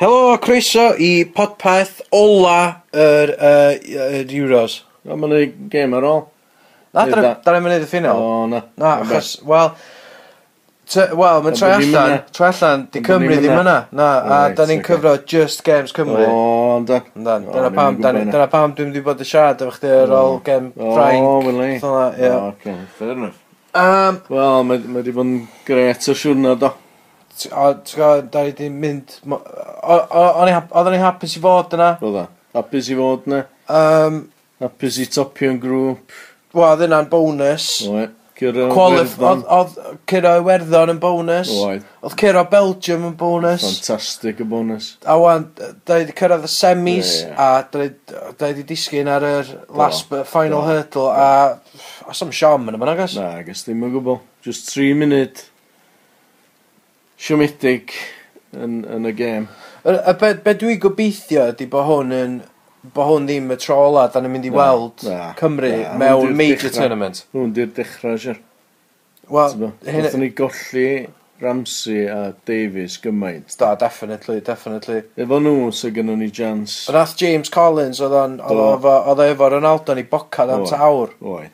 Helo, a croeso i podpeth ola yr, yy, yr Euros. O, mae'n ei gêm ar ôl. Na, Neu da da- ni'n mynd i'r O, ffinal. na. Na, Ma'n achos, wel... t- Wel, mae'n Ond troi bod ni'm allan, yna. troi allan, di Ond bod Cymru ni'm ddim yna. yna. Na, a Alright, da ni'n ocê. cyfro Just Games Cymru. O, da. Yndan, O, Dyna o'n pam, i'm yn dyna gwbod dyna pam dwi'n mynd i bod y siarad efo chdi ar ôl gem O, Ffrainc. wel, ei. fatha 'na, ie. O, ocê, fair enough. Yym, Wel, mae mae di bod yn gret o siwrna, do. t- o, ti'n gwbod, da ni di mynd... mo- o- o- o'n i hap- Oedden ni'n hapus i fod yna. Roedd da. Hapus i fod na. Um, Hapus i topio'n grŵp. Wel, oedd hynna'n bonus. Oe. Cyrra Qualif- Werddon. Oedd oedd Ciro Iwerddon yn bonus. Oedd. Oedd Ciro Belgium yn bonus. Fantastic y bonus. A wan, da ni wedi cyrraedd y semis Ie, ie. a da ni da ni wedi disgyn ar yr Oh, last but final do. hurdle a pff, os am siom yn y bynnag oes? oh. Na, gys ddim yn gwbl. Just 3 munud. Siomedig yn, yn y gêm. Y y be, be dwi gobeithio ydy bod hwn yn bod hwn ddim y tro ola da ni'n mynd i Na, weld na, Cymru na, hwn mewn di'r major dechrau. tournament. Hwn di'r dechrau, siar. Wel, hynna- Gwethon ni golli Ramsey a Davies gymaint. da, definitely, definitely. Efo nhw sy'n gynnu ni jans. Yn ath James Collins oedd o'n- oedd o Do. efo- oedd o efo Ronaldo ni bocad am Oedd. tawr Oed.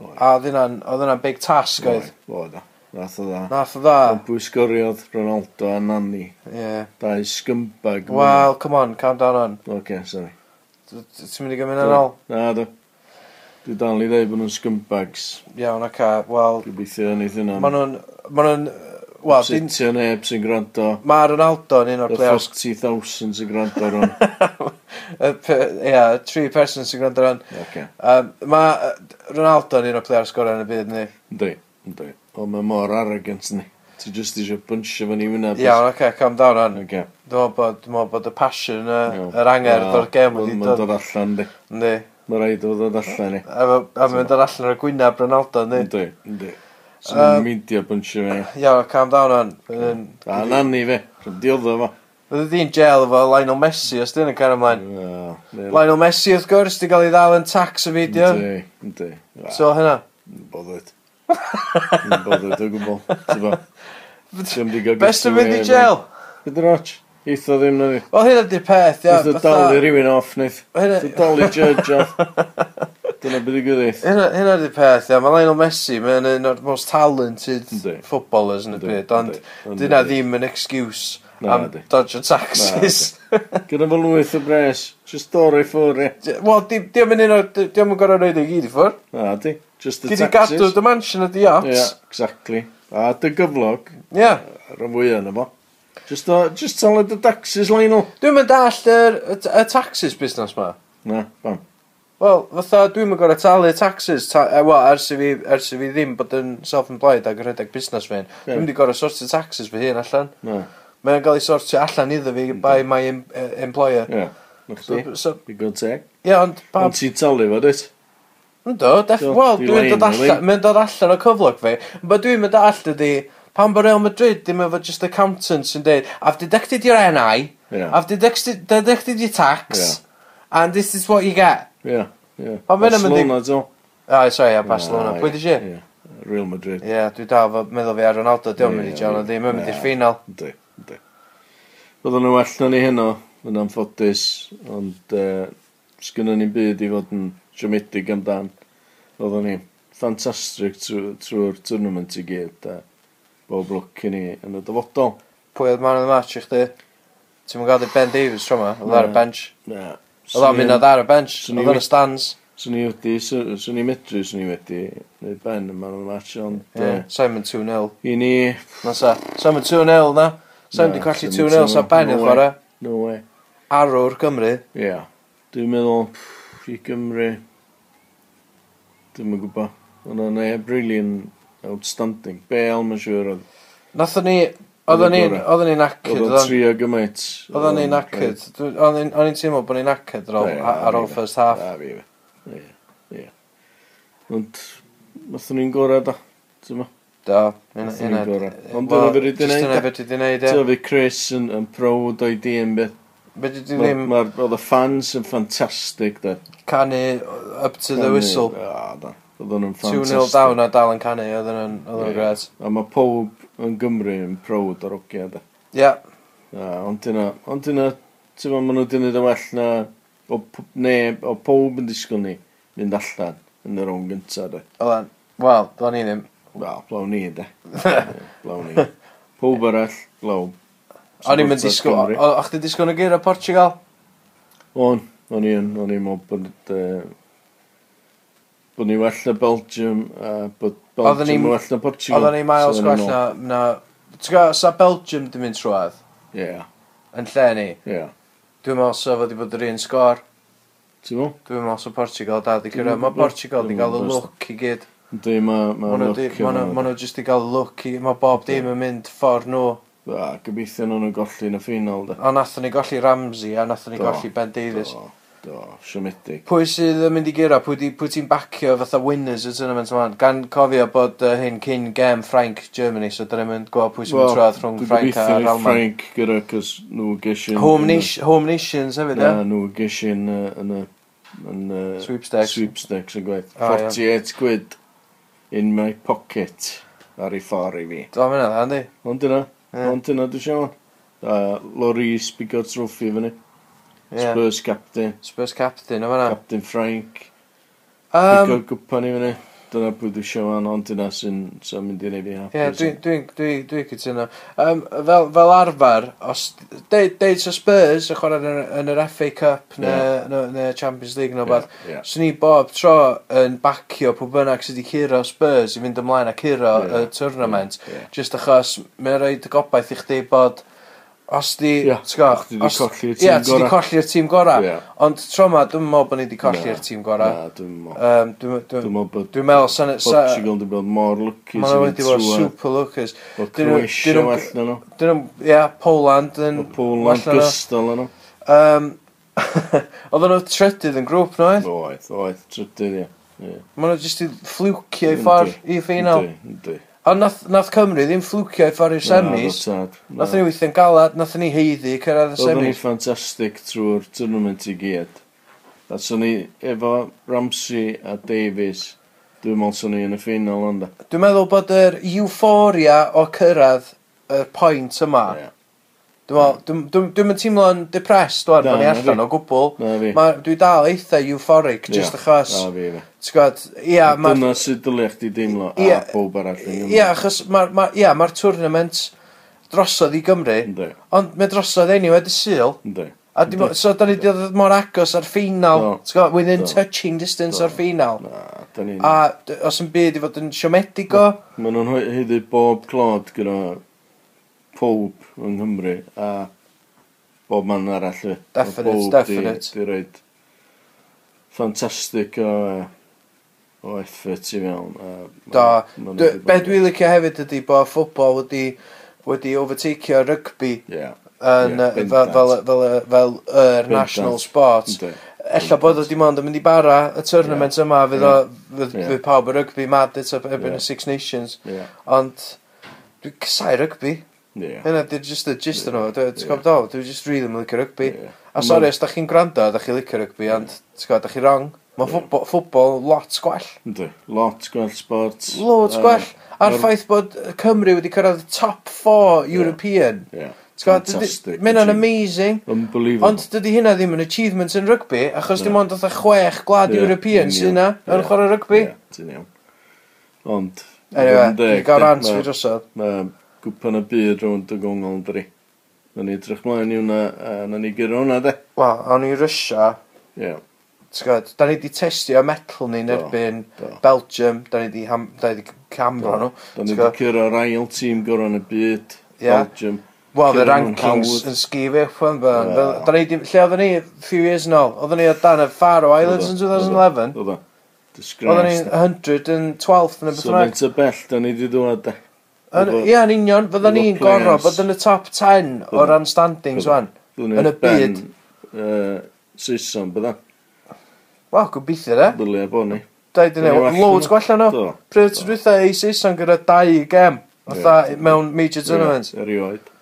Oed. a oedd hynna'n- oedd hynna'n big task oedd. Oed. Nath o dda. Nath o dda. Ond bwysgoriodd Ronaldo a Nani. Ie. Dau scumbag. Wel, come on, calm down on. Oce, sorry. T- t- Ti'n mynd i gymryd yn ôl? Na, do. Dwi dal i ddeud bod nhw'n scumbags. Iawn, oca, wel, Gobeithio yn eithaf yna. ma' nhw'n, ma' nhw'n, yy, wel, dyn, Sitio neb sy'n gwrando. ma' Ronaldo yn un o'r Y players, 40,000 sy'n gwrando ar hwn. y pe- ie, y tri person sy'n gwrando rhan, Oce. um, ma' yy, Ronaldo yn un o'r players gorau yn y byd ni. Ynddi. Ynddi. O, mae mor arrogant ni. Ti just eisiau bwnsio fan i wyna. Iawn, oca, calm down rhan. Oce. Dwi'n meddwl bod, dwi'n meddwl bod y passion, Iawn. yy, yr angerdd o'r gem wedi Mae'n dod, dod allan, di. yndi. Mae rhaid o ddod allan, ni. A ma- a mae'n dod allan o'r gwynaf Ronaldo, yndi. Ynddi. Ynddi. So Yym. mae'n meindio bwnsio fan i. Iawn, calm down rhan. Fydd A nani fe. Rydiodd o fa. ydi'n jail efo Lionel Messi os dyn yn cael ymlaen. Ynddi. Lionel Messi wrth gwrs, di gael ei ddal yn tax y fideo. Ynddi. So hynna. Bothered. Yn bothered o gwbl. Ti'n bo? Ti'n mynd i gael Best yn mynd i jail. Ydyn roch. Eitho ddim na ni. Wel hynna di'r peth, ia. Eitho fatha- dal i rywun off neith. Hynna- Eitho dal i judge off. Dyna beth i gwyddith. Hynna hynna di'r peth, ia. Mae Lionel Messi, mae'n un o'r most talented Yndi. footballers yn y Yndi, byd, ond yndi, yndi. dyna ddim yn excuse Na, am yndi. dodge o taxes. Gyda fo lwyth o bres. Just dor i ffwr i. Wel, di- diom yn un o'r... di- Diom yn gorau rhaid i gyd i ffwr. Na di. Just the Gyd i taxes. gadw dy mansion o di Ie, yachts. exactly. A dy gyflog, Ie. ar y fwyaf yna fo. Just, o, just talu dy daxes, Lionel. Dwi'n mynd all yr y t- y taxes busnes ma. Na, bam. Wel, fatha, dwi'n mynd gorau talu taxes, ta, e, wel, ers i fi, ers i fi ddim bod yn self-employed ac yn rhedeg busnes fe'n, yeah. dwi'n mynd i gorau sortio taxes fy hun allan. Na, Mae'n cael ei sortio allan iddo fi by my em, uh, employer. ie. Na chdi. So- so- Digon teg. Ie, yeah, ond, pa... Ond ti'n talu fo, dweud? Ynddo, def... Do, Wel, dwi dwi'n lein, dod allan, lein. mae'n dod allan o cyflog fi. Ba dwi'n mynd all ydi, pan bod Real Madrid ddim efo just accountant sy'n deud, I've deducted your NI, Ie. I've deducted, deducted your tax, and this is what you get. Ie, ie. Ond ma' hynna'n mynd i- Barcelona, ti'n? Ah, sorry, a Barcelona. Ah, Pwy ie, di si? ie. Real Madrid. Ie, yeah, dwi dal fo- meddwl fi ar Ronaldo, diolch yn Ie, mynd i John, ie. ond ddim yn mynd i'r Na. ffinal. Ynddi, ynddi. Roedden nhw well na ni heno, yn anffodus, ond uh, sgynnon ni'n byd i fod yn siomedig amdan. Roedden ni ffantastig trw- trwy'r tournament i gyd, a bob lwc i ni yn y dyfodol. Pwy oedd man yn y match i chdi? Ti'n mynd gadw Ben Davies tro ma? Oedd ar y Na. bench? Na. Oedd o'n mynd oedd ar y bench? swn i Oedd o'n y wi- stands? Swn i wedi, swn swn i medru, swn i wedi, neu ben yma yn y match, ond Ie, yeah. Simon 2-0. uh, i ni... Na sa. Simon 2-0 na. Simon Na, di colli Simon 2-0 sa 2-0, Ben no yn way. chwarae. No way. Arwr Gymru. Ie. Yeah. Dwi'n meddwl, pff, i Gymru, dwi'n yn gwybod. Ond o'n e, brilliant, outstanding. Bel, mae'n siŵr oedd. Nathon ni... Oedden ni, Gorau. oedden ni knackered, Oedd o oedden tri oh, o gymaint. oedden ni knackered. Dwi- O'n i'n- o'n i'n teimlo bod ni'n knackered ar ôl- Ie, ar ôl ie. first half. A fi fe. Ie, ie. Ond, mathon ni'n gorau da. Ti'n ma? Do, hynna. Nathon ni'n hynna- gorau. Ond Wel, dyna fe rydyn jyst Dyna neud. fe rydyn neud, Ti'n ie. fi Chris yn, yn prowd o'i di yn beth. Fe rydyn Ma- ddim... ma'r- Oedd y fans yn ffantastig da. canu up to the whistle. A da. Oedd nhw'n 2-0 ffantastig. down a dal yn canu, oedd yn oedd yn Ie. gret. A mae pob yn Gymru yn prowd o'r ogia da. Ia, Na, ond dyna, ond dyna, ti'n fawr, maen nhw di wneud yn well na o p- neb, o pob yn disgwyl ni mynd allan yn yr o'n gyntaf, de. Oedden, wel, do'n i ddim. Wel, blaw ni, de. blaw ni. Pob arall, blaw. O'n i'n mynd disgwyl, o- o- o'ch ti disgwyl yn gyr o Portugal? O'n, o'n i'n, o'n i'n meddwl bod, yy, bod ni well na Belgium, a bod Oedden ni'n- Belgium yn well na Portugal. Oedden ni miles So oedden gwell ni'n na, na... Ti'n gwybod, sa Belgium di mynd trwad, meddwl, Ie, yn lle ni, ie. dwi'n meddwl sa fod i bod yr un sgor. Ti'n meddwl? Dwi'n meddwl sa Portugal da di cyrra. Dwi'n- Mae Portugal di dwi'n gael y meddwl- look i gyd. Ynddi, ma- ma' Ma' nhw look di- yma, ma' nhw- ma' nhw jyst i gael y look i... Mae bob dim yn mynd ffordd nhw. A, gobeithio nhw'n golli yn y ffinal, de. A nathon ni golli Ramsey, a nathon ni Do, golli Ben Davies. Do, do, siomedig. Pwy sydd yn mynd i gyra, pwy, di- pwy ti'n bacio fatha winners y tournament yma? Gan cofio bod uh, hyn cyn gem Frank Germany, so dyn ni'n mynd gweld pwy sy'n mynd trwad rhwng Frank a Dwi'n gobeithio i Alman. Frank gyda, cos nhw geshin... Home, nation, home Nations hefyd, Na, e? nhw geshin uh, yn y... Yn, uh, Sweepstakes. Ah, Sweepstakes yn gwaith. O, ie. 48 quid in my pocket ar ei ffordd i fi. Do, mae'n dda, yndi? Ond dyna, Ie. ond dyna dwi'n siarad. A Loris bigod trwffi fyny. Ie. Spurs captain, Spurs captain, o fanna. captain Frank. Um, Bigod gwpan i fyny. Dyna pwy dwi'n siarad, ond dyna sy'n sy'n mynd i wneud i hapus. Ie, dwi'n dwi, dwi, dwi cytuno. Um, fel, fel arfer, os... Deud de, so Spurs yn chwarae yn, y- yn yr FA Cup neu Ie. neu- neu Champions League neu Ie, beth, ie. Swn i bob tro yn bacio pwy bynnag sydd wedi curo Spurs i fynd ymlaen a curo Ie. y tournament. Ie. Just achos mae'n rhaid y gobaith i chdi bod os di... Ie. ti'n gwbo, Os ti 'di os- colli'r tîm Ie, ti di gorau. colli'r tîm gorau. Ie. Ond tro ma, dwi'n meddwl bod ni wedi Na, colli'r tîm gorau. Na, dwi'n meddwl. Um, dwi'n Dwi'n dwi'n- meddwl bod dwi'n meddwl... sa- sa- Portugal wedi bod mor lwcus Ma' nhw wedi bod super lwcus. Bod Dyn nhw- Croatia dyn nhw- well na nhw. Dyn nhw, ia, Poland yn... Bod Poland well na nhw. gystal na nhw. Um, Oedden nhw trydydd yn grŵp nhw, oedd? Oedd, oedd, trydydd ie. Ie. Maen nhw jyst i fflwcio i ffordd i ffinal. Yndi, yndi. Ond nath, nath Cymru ddim fflwcio i ffordd i'r semis. Na, oedd o tad. Na. Nath ni weithio'n galad, nath ni heiddi cyrraedd y Oedden ni semis. ffantastig trwy'r tournament i gyd. A so ni efo Ramsey a Davies. Dwi'n meddwl so ni yn y ffinal ond. Dwi'n meddwl bod yr euphoria o cyrraedd y pwynt yma. Ie. Dwi'n meddwl- dwi'n- dwi'n- dwi'n mynd teimlo'n depressed dwi'n Na, bod ni na allan fi. o gwbl. Na fi. Ma- Dwi dal eitha euphoric, Ie. just achos, Na fi, fe. ti'n gwybod, ia, ma'r Dyna sydd dylia chdi deimlo a Ie. bob arall yn Gymru. Ie, achos mae'r ma, ia, ma tournament drosodd i Gymru, Yndi, ond mae drosodd anyway dy syl. yndi. A dim, Yndi. so, da ni wedi dod mor agos ar Do. ffinal, ti'n gwbod, within Do. touching distance Do. o'r ffinal. Na, da ni'n... A d- os yn byd i fod yn siomedigo, Maen nhw'n hy- hyddu bob clod gyda pob yng Nghymru a bob man arall. ie. A Definite, bob definite. Di, di roed ffantastig o, yy, o effort i fewn. A ma- do. ma' nhw Dw- di bod- Be dwi'n licio hefyd ydy bod ffwbol wedi, wedi overtakeio rygbi Ie, yn, yy, Ie, fel, bendant. fel, fel, fel, yr Bendant. national sport. yndi. Ella bod o dim ond yn mynd i bara y tournament yma fydd o fydd Ie. fydd pawb y rygbi mad eto erbyn Ie. y Six Nations Ie, ond dwi'n cysau rygbi ie. hynna dwi'n just y gist yn o Ie. ti'n gwybod o dwi'n just really yn licio rygbi ie. a sori os da chi'n gwrando a da chi'n licio rygbi ond ti'n gwybod da chi wrong mae ffwbol ffwbol lot gwell Yndi, lot gwell sport. lot gwell a'r ma'r- ffaith bod Cymru wedi cyrraedd top 4 European Ie, ti'n gwybod Fantastic mynd yn achievement. amazing unbelievable. Ond dydy hynna ddim yn achievement yn rygbi, achos Na. dim ond oedd chwech gwlad Ie, European sy'n yna union. yn Ie. chwarae rygbi. Ie, ti'n iawn. Ond, Anyway, yn dwi'n deg, gael de, rant ma- fi drosodd. Mae gwpan y byd rownd y gongol yn dri. Na ni drach mlaen i hwnna, a na ni gyro hwnna, de. Wel, awn i Russia, Ie, ti'n gwybod, da ni wedi testio metal ni'n Do, erbyn do. Belgium, da ni wedi ham- da ni 'di camro nhw. Da Ti'n ni wedi gwbod? cyrra'r ail tîm gorau yn y byd. Ie. Belgium. Wel, the cyrraedd nhw'n rankings hawdd. yn sgif eich fan fan. Wel. Da ni wedi, lle oedden ni, few years yn ôl, oedden ni o dan y Faro Islands yn 2011, Oedda. oedden ni Disgrace. 112th yn y beth So yna. mynd y bell, da ni wedi dod, de. Yn- Efo- Ie, yn union, fydda efo ni'n gorfod players. bod yn y top 10 o Bydda- ran standings bydda- wan. Dwi'n Yn y neud ben, byd. yy, Saeson, bydda. Wel, gobeithio de. Dylia bod ni. Da i di Dyn ni newid well loads na- gwella nhw. Do. Pryd ti'n rwytha i Saeson gyda dau gem. Otha Ie. mewn major tournament. Ie, Erioed.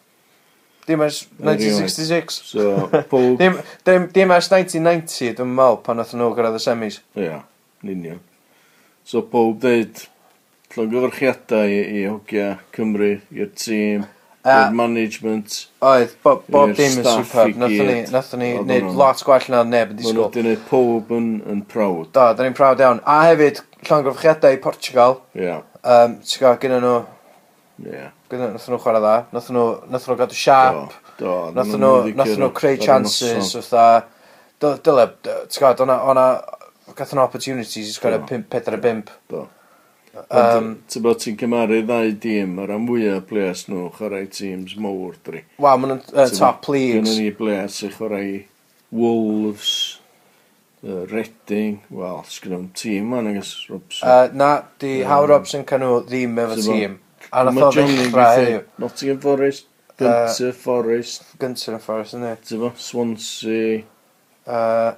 Dim ers Erioed. 1966. So, pob... Dim, dim, dim ers 1990, dwi'n meddwl, pan oedd nhw gyrraedd y semis. Ie, yn union. So pob dweud llongyfarchiadau i, i hogia Cymru, i'r tîm, i'r management. Oedd, Bob, Bob I'r dim yn staff superb. i Nathon ni, gyd. nathon ni Oedden neud nhw'n- lot gwell na neb yn Mae nhw disgwyl. wedi gwneud pob yn, yn proud. Do, da ni'n prawd iawn. A hefyd, llongrafchiadau i Portugal. Ia, Um, Ti'n gwybod, gyda nhw, ia. gyda nathon nhw chwarae dda. Nathon nhw, nathon nhw gadw siap. Do, oedden Nathon nhw, wedi nathon nhw cyrraedd creu ar y chances, noson. fatha, dy- dyle, dy- ti'n gwybod, o'na, o'na, gatho nhw opportunities i sgwrdd Do. 4 a 5. Do. Um, Ond, Ti'n bod ti'n cymaru ddau dîm, ar am fwyaf players nhw, chwarae teams mowr dri. Wel, maen nhw'n uh, Ti'n top Gynnu leagues. ni players sy'n chwarae i Wolves, uh, Redding, wel, sgynnu nhw'n tîm man agos Robson. Uh, na, di Yym. Howard Robson can nhw ddim efo Ti'n gwbo. tîm. A nath o ddechrau heddiw. Nottingham Forest, Gunter Forest, Gyntaf yn Forest, yna. ti'n bod, Swansea, Uh,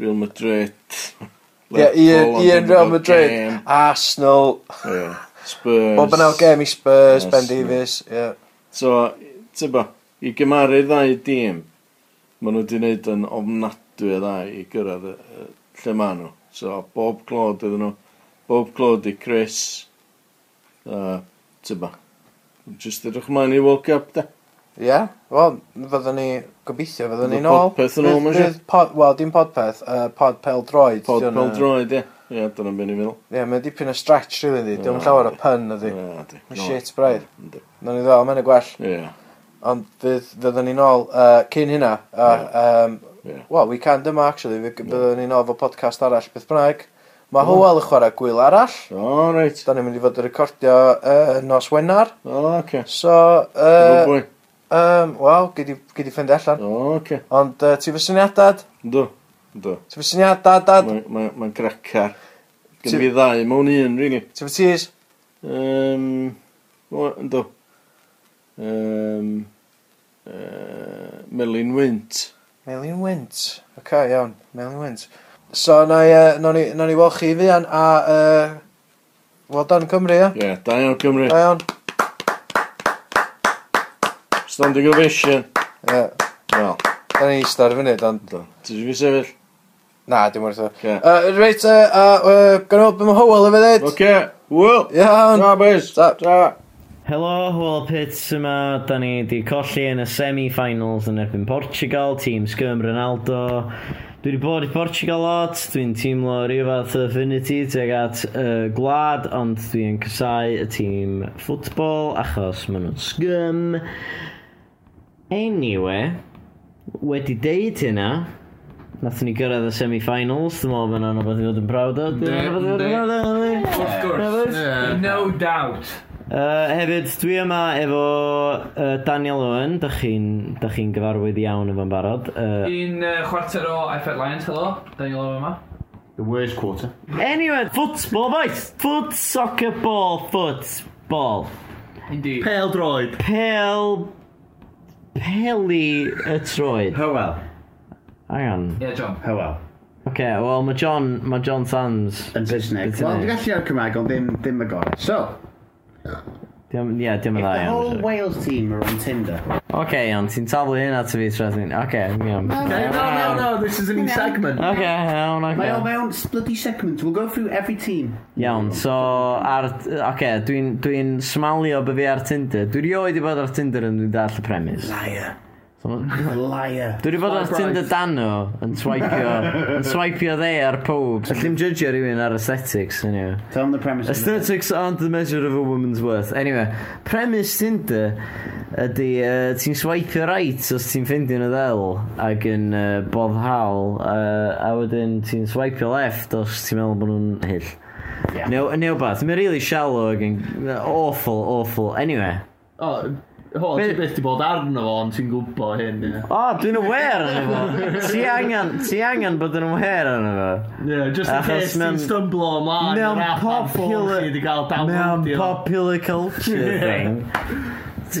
Real Madrid. Ie, un un Liverpool, ond Real yn Madrid, gêm. Arsenal, Ie, Spurs. bob yn awr gem i Spurs, Yes, Ben no. Davies. ie. So, ti'n bo, i gymaru ddau dîm, maen nhw wedi wneud yn ofnadwy o dda i gyrraedd y- y- lle maen nhw. So, bob clod ydyn nhw, bob clod i Chris, uh, ti'n bo, just edrych maen i World Cup, da. Ie, wel, fyddwn ni gobeithio, fyddwn Fydd ni'n y ôl. podpeth yn ôl, mae'n siŵr. Bydd- bydd pod- Wel, dim podpeth, yy, pod pel droed. Pod di hwnna. pel droed, ie. Ie, dyna beth ni'n meddwl. Ie, mae'n dipyn o stretch, rili, di. Dwi'n Ie. llawer o pun, ydi. Ie, di. Mae'n shit braidd. Yndi. No'n i ddol, mae'n y gwell. Ie, Ond fydd, fyddwn ni'n ôl uh, cyn hynna. Uh, um, ie. Wel, we can dyma, actually. Fy- Byddwn ni'n ôl fo podcast arall, beth bynnag. Mae Hywel yn chwarae gwyl arall. O, reit. Da ni'n mynd i fod yn recordio uh, nos Wenar. O, oce. So, Efo uh, bwy. um, wel, gyd i ffynd allan. O, oce. Ond uh, ti fy syniadad? Yndw, yndw. Ti fy syniadad, dad? Mae'n ma, ma gracar. Ti- Gyn fi ddau, mewn un, really. Ti fy tis? Um, ynddo. Um, uh, Melin Wynt. Melin Wint. Ok, iawn. Melin Wint. So, na i, uh, nawn ni, nawn ni weld chi fian a... Uh, well done, Cymru, ia? Ie, yeah, da iawn Cymru. Da iawn. Standing ovation. Ie. Wel, Da ni eistedd ar y funud, ond... ynddo. Ti'n fi sefyll? Na, dim wrth o. Oce. Uh, reit, uh, uh, uh, gan ôl bym hwyl efo ddyd. Oce, wel. Iawn. Ta, boys. Ta. Ta. Helo, Hwyl Pits yma. Da ni wedi colli yn y semi-finals yn erbyn Portugal, tîm Sgym Ronaldo. Dwi wedi bod i Portugal lot, dwi'n teimlo rhyw fath o affinity tuag at uh, gwlad, ond dwi'n casau y tîm ffwtbol achos maen nhw'n sgym. Anyway, wedi deud hynna, Nathon ni gyrraedd y semi-finals, dwi'n meddwl bod yna'n rhywbeth i fod yn proud o. Dwi'n meddwl bod yna'n rhywbeth i fod yn proud o. Of course. No doubt. Uh, hefyd, dwi yma efo uh, Daniel Owen, dych chi'n chi gyfarwydd iawn efo'n barod. Uh, Un uh, chwarter o Effect Lions, helo. Daniel Owen yma. The worst quarter. anyway, football, boys! Foot, soccer, ball, foot, ball. Indeed. Pale droid. Pel... Peli y troed. Howell. Hang on. Ie, John. Howell. Oce, okay, wel, mae John, ma John Sands... Yn Saesneg. Wel, dwi'n gallu ar Cymraeg, ond ddim, ddim y gorau. So, Ie, yeah, dim yn the dda whole iawn. Wales team are on Tinder. Oce, iawn, ti'n taflu hyn at y fi, Trethyn. Oce, iawn. No, no, no, this is a new segment. Oce, iawn, oce. Mae o mewn bloody segment. We'll go through every team. Iawn, so ar... Oce, dwi'n dwi smalio be fi ar Tinder. Dwi rioed i bod ar Tinder yn dwi'n dall y premis. Liar. So, ma- Liar. dwi wedi bod ar Tinder dano yn swipio, yn swipio dde ar pob. Allim judgeio rhywun ar aesthetics, anyway. Tell them the premise. of it. Aesthetics aren't the measure of a woman's worth. Anyway, premis Tinder ydy uh, ti'n swipio right os ti'n ffindio'n y ddel ac yn uh, boddhaol uh, a wedyn ti'n swipio left os ti'n meddwl bod nhw'n hyll. Ie. Yeah. Neu, neu beth, mae'n really shallow ac yn awful, awful. Anyway. O, ho, Be- ti beth di bod arno fo, ond ti'n gwybod hyn, ie. O, oh, dwi'n aware arno fo. Ti angen, ti angen bod yn aware arno fo. Ie, just in Achos case mewn- ti'n stumblo ymlaen. mewn i'r app am ffôn popular- Chi wedi cael Mewn downloadio. popular culture thing. Ti'n gwybod?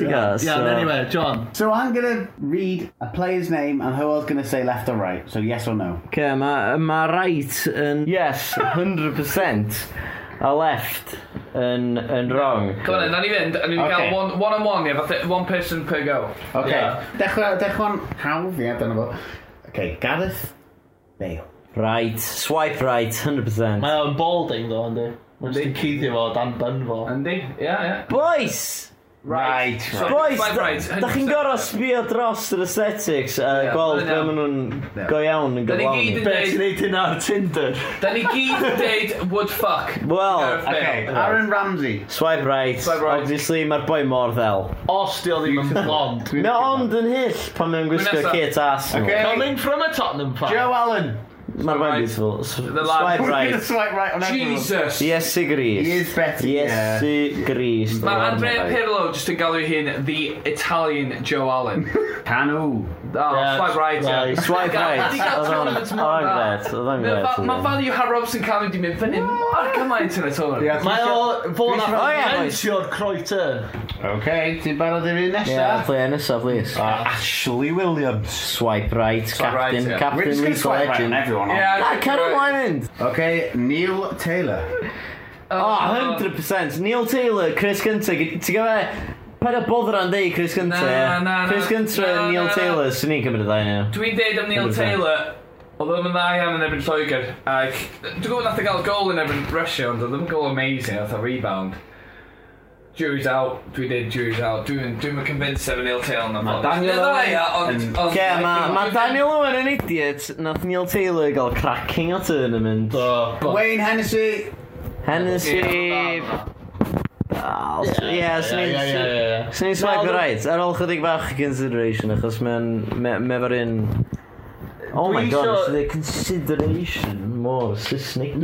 Yeah, and anyway, John. So I'm going to read a player's name and Howell's going to say left or right. So yes or no. Okay, mae ma right yn yes, 100% a left yn, yn wrong. Come on, na ni fynd. A ni Oce. okay. gael one, one on one, ie, fatha one person per go. Okay. Ie. Dechrau, dechrau'n hawdd. Ie, dyna fo. Okay, Gareth Bale. Right, swipe right, 100%. Mae o'n balding ddo, ynddi. Mae'n just yn cyddio fo, dan dyn fo. Andy? Ie, ie. Boys! Right, Sorry, right. Boys, right, right, da chi'n 100%. gorau sbio dros yr aesthetics a Ie, gweld dyna be iawn. maen Ie. nhw'n go iawn yn Da ni gyflawn. gyd yn Be deud- ti'n neud hynna ar Tinder? Da ni gyd yn deud would fuck. Wel, Okay, Aaron Ramsey. Swipe right. Swipe right. Obviously, mae'r boi mor ddel. Os di o ddim yn blond. Mae ond yn hyll pan mae'n gwisgo nesa. kit ass nhw. Okay. Coming from a Tottenham fan. Joe Allen. Mae'r boi'n right. beautiful. S- lad- Swipe We're gonna right. swipe right on everyone. Jesus. Yes i He gris. is better. Yes yeah. i gris. Mae dylan. Andrea Pirlo just yn galw hyn the Italian Joe Allen. Canu. Oh, Yeah, swipe right. yeah. right. Swipe Gael- right. wedi gael Oedd o'n tournament oedd mor o'n dda. gret. Oedd o'n Mae gret. fa- mae value Har Robson Canu di mynd fyny mor cymaint yn y tôn. Yeah, Mae o fod na O, ie, Oh, boys. fentio'r Croeter. Okay, ti'n barod i'r un Yeah, nesaf? play nesaf, please. Ashley Williams. Swipe right, right, Captain, yeah. We're Captain just gonna League swipe right on Legend. Ah, everyone. aren't Yeah, Na, I think cer you're right. ymlaen mynd! we? Okay, Neil Taylor. Oh, 100%. Neil Taylor, Chris Gunter, g- ti'n gyfe... Pa da boddra yn deud Chris Gunter? Na, na, na. Chris Gunter Na, a Neil na, na. Taylor, swn i'n cymryd y ddau nhw. Dwi'n deud am Neil 100%. Taylor, oedd o'n dda iawn yn erbyn Lloegr, ac dwi'n gwybod nath o gael gol yn erbyn Russia, ond oedd o'n gol amazing, oedd o rebound. Jury's out, dwi'n deud jury's out, dwi'n dwi convinced efo Neil Taylor yn y ffordd. Daniel Dwi'n dda, Owen ia, ond... ond- Ge, dwi'n- mae dwi'n- Daniel Owen yn idiot, nath Neil Taylor gael cracking o tournament. Wayne Hennessy. Hennessy... Ah, os- Ie, swn i'n... Swn i'n swipe right, ar ôl chydig bach o consideration, achos mae'n... Mae fo'r un... Oh my Dwi god, isio- it's the consideration mor Saesnig.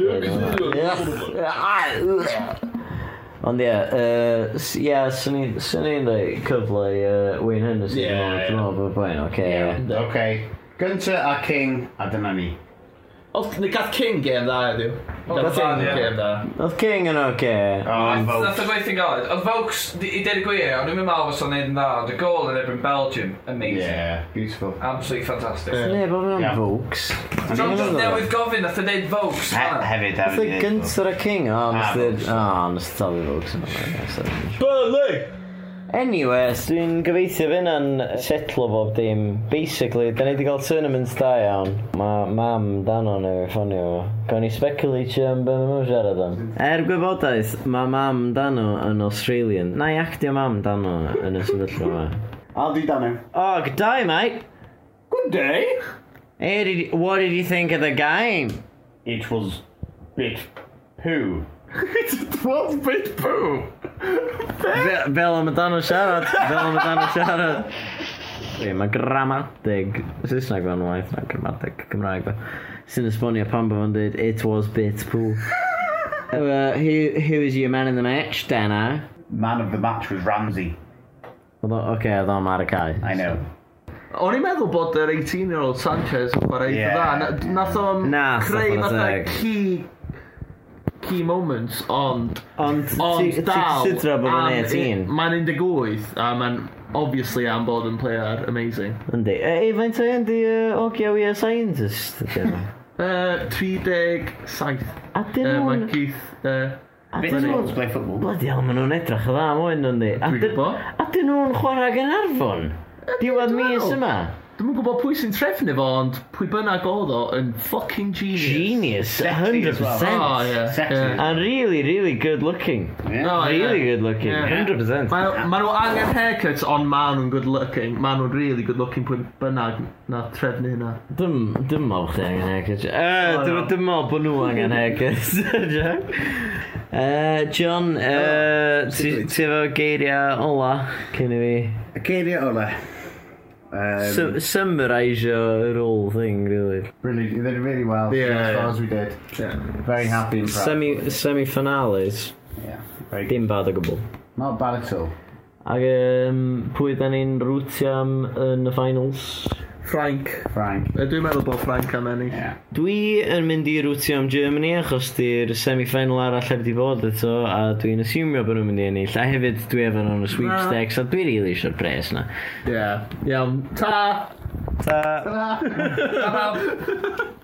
Ond ie, yy, s- ie, swn i'n swn i'n dweud cyfle i yy, Wayne Hennessy. Ie, Dwi'n meddwl- dwi'n meddwl bod bwy'n, oce. ie. Okay. Gunter a King a dyna ni. Oh, Oedd ni gath King game dda ydyw. Gath King, ie. game dda. Oedd King yn oce. Oh, Nath o gweithio'n galed. Oedd Vokes, i deud y gwir, ond ddim yn mawr os o'n neud yn dda, ond y gol yn erbyn Belgium, amazing. Yeah, beautiful. Absolutely fantastic. Ne, bod Ie. fi'n Vokes. John just newydd gofyn, nath o deud Vokes. He- Hefyd, hefyd. Oedd y ie. gyntar a King, Ah, o, nes i... Vokes. O, nes i talu Vokes yn oce. Burnley! Anyway, os dwi'n gobeithio fy hynna'n setlo bob dim. Basically, da ni wedi cael tournaments da iawn. Mae mam dan o'n ei ffonio fo. Gawn ni speculatio am beth mae'n siarad am. Er gwybodaeth, mae mam dan o yn Australian. Na i actio mam dan o yn y sefyllfa yma. I'll do Dano. Oh, good day, mate. Good day. Hey, did you- what did you think of the game? It was bit poo. it was bit poo. Fe- Fel am y dan o siarad. Fel am y dan o siarad. Ie, mae gramadeg Saesneg fan waith, na gramadeg Cymraeg fe. Sy'n esbonio pan bod fo'n dweud, it was bit pool. Uh, who, who is your man in the match, Dana? Man of the match was Ramsey. Oce, okay, oedd o'n ar y cae. I know. O'n i'n meddwl bod yr 18-year-old Sanchez yn chwarae Ie. eitha dda. Na- Nath o'n Na, creu chwarae fatha teg. key key moments, ond Ond ti- ond ti'n dal cysidro bod o'n am- 18? Mae'n 18 a mae'n obviously am bod yn player amazing. Yndi. E, faint o yndi uh, Ogio We Are Scientist? ydi hwnna? Uh, 37. A dyn Uh, nhw'n... Mae Keith... Uh, a Bit dyn poo nhw'n- to play football. Bloody hell, maen nhw'n edrych o dda am hyn, yndi. A Dwi'n dyn- gwbo. A dyn nhw'n chwarae gan arfon? Diwedd dwi'n mis meddwl. yma? Dwi'n yn gwybod pwy sy'n trefnu fo, ond pwy bynnag oedd o yn fucking genius. Genius, Sexy as well. Oh, 100%. yeah. Sexy. yeah. And really, really good looking. Yeah. Really good looking, Oh, Yeah. 100%. Mae ma nhw angen haircuts, ond ma nhw'n good looking. Ma nhw'n really good looking pwy bynnag na trefnu hynna. Dim, dim o chdi angen haircut. Uh, dim, Oh, no. dim o bod nhw angen haircut. uh, John, Oh. uh, ti ti efo geiriau ola cyn i fi Acadia Ola. Um, Sum- summarisio yr whole thing, really. Brilliant. You did really well. Yeah, as far yeah. as we did. Very happy and proud. Semi, semi-finales, yeah. Very good. dim bad o gwbl. Not bad at all. Ac um, pwy da ni'n rwtio am yn y finals? Frank. Frank. Yy, Dwi'n meddwl bod Frank am ennill. Yeah. Dwi yn mynd i rwtio am Germany achos di'r semi-final arall ar wedi bod eto a dwi'n asiwmio bod nhw'n mynd i ennill a hefyd dwi efo nhw'n y sweepstakes a dwi rili eisiau'r pres na. Ie. Iawn. Ta! Ta. Pam-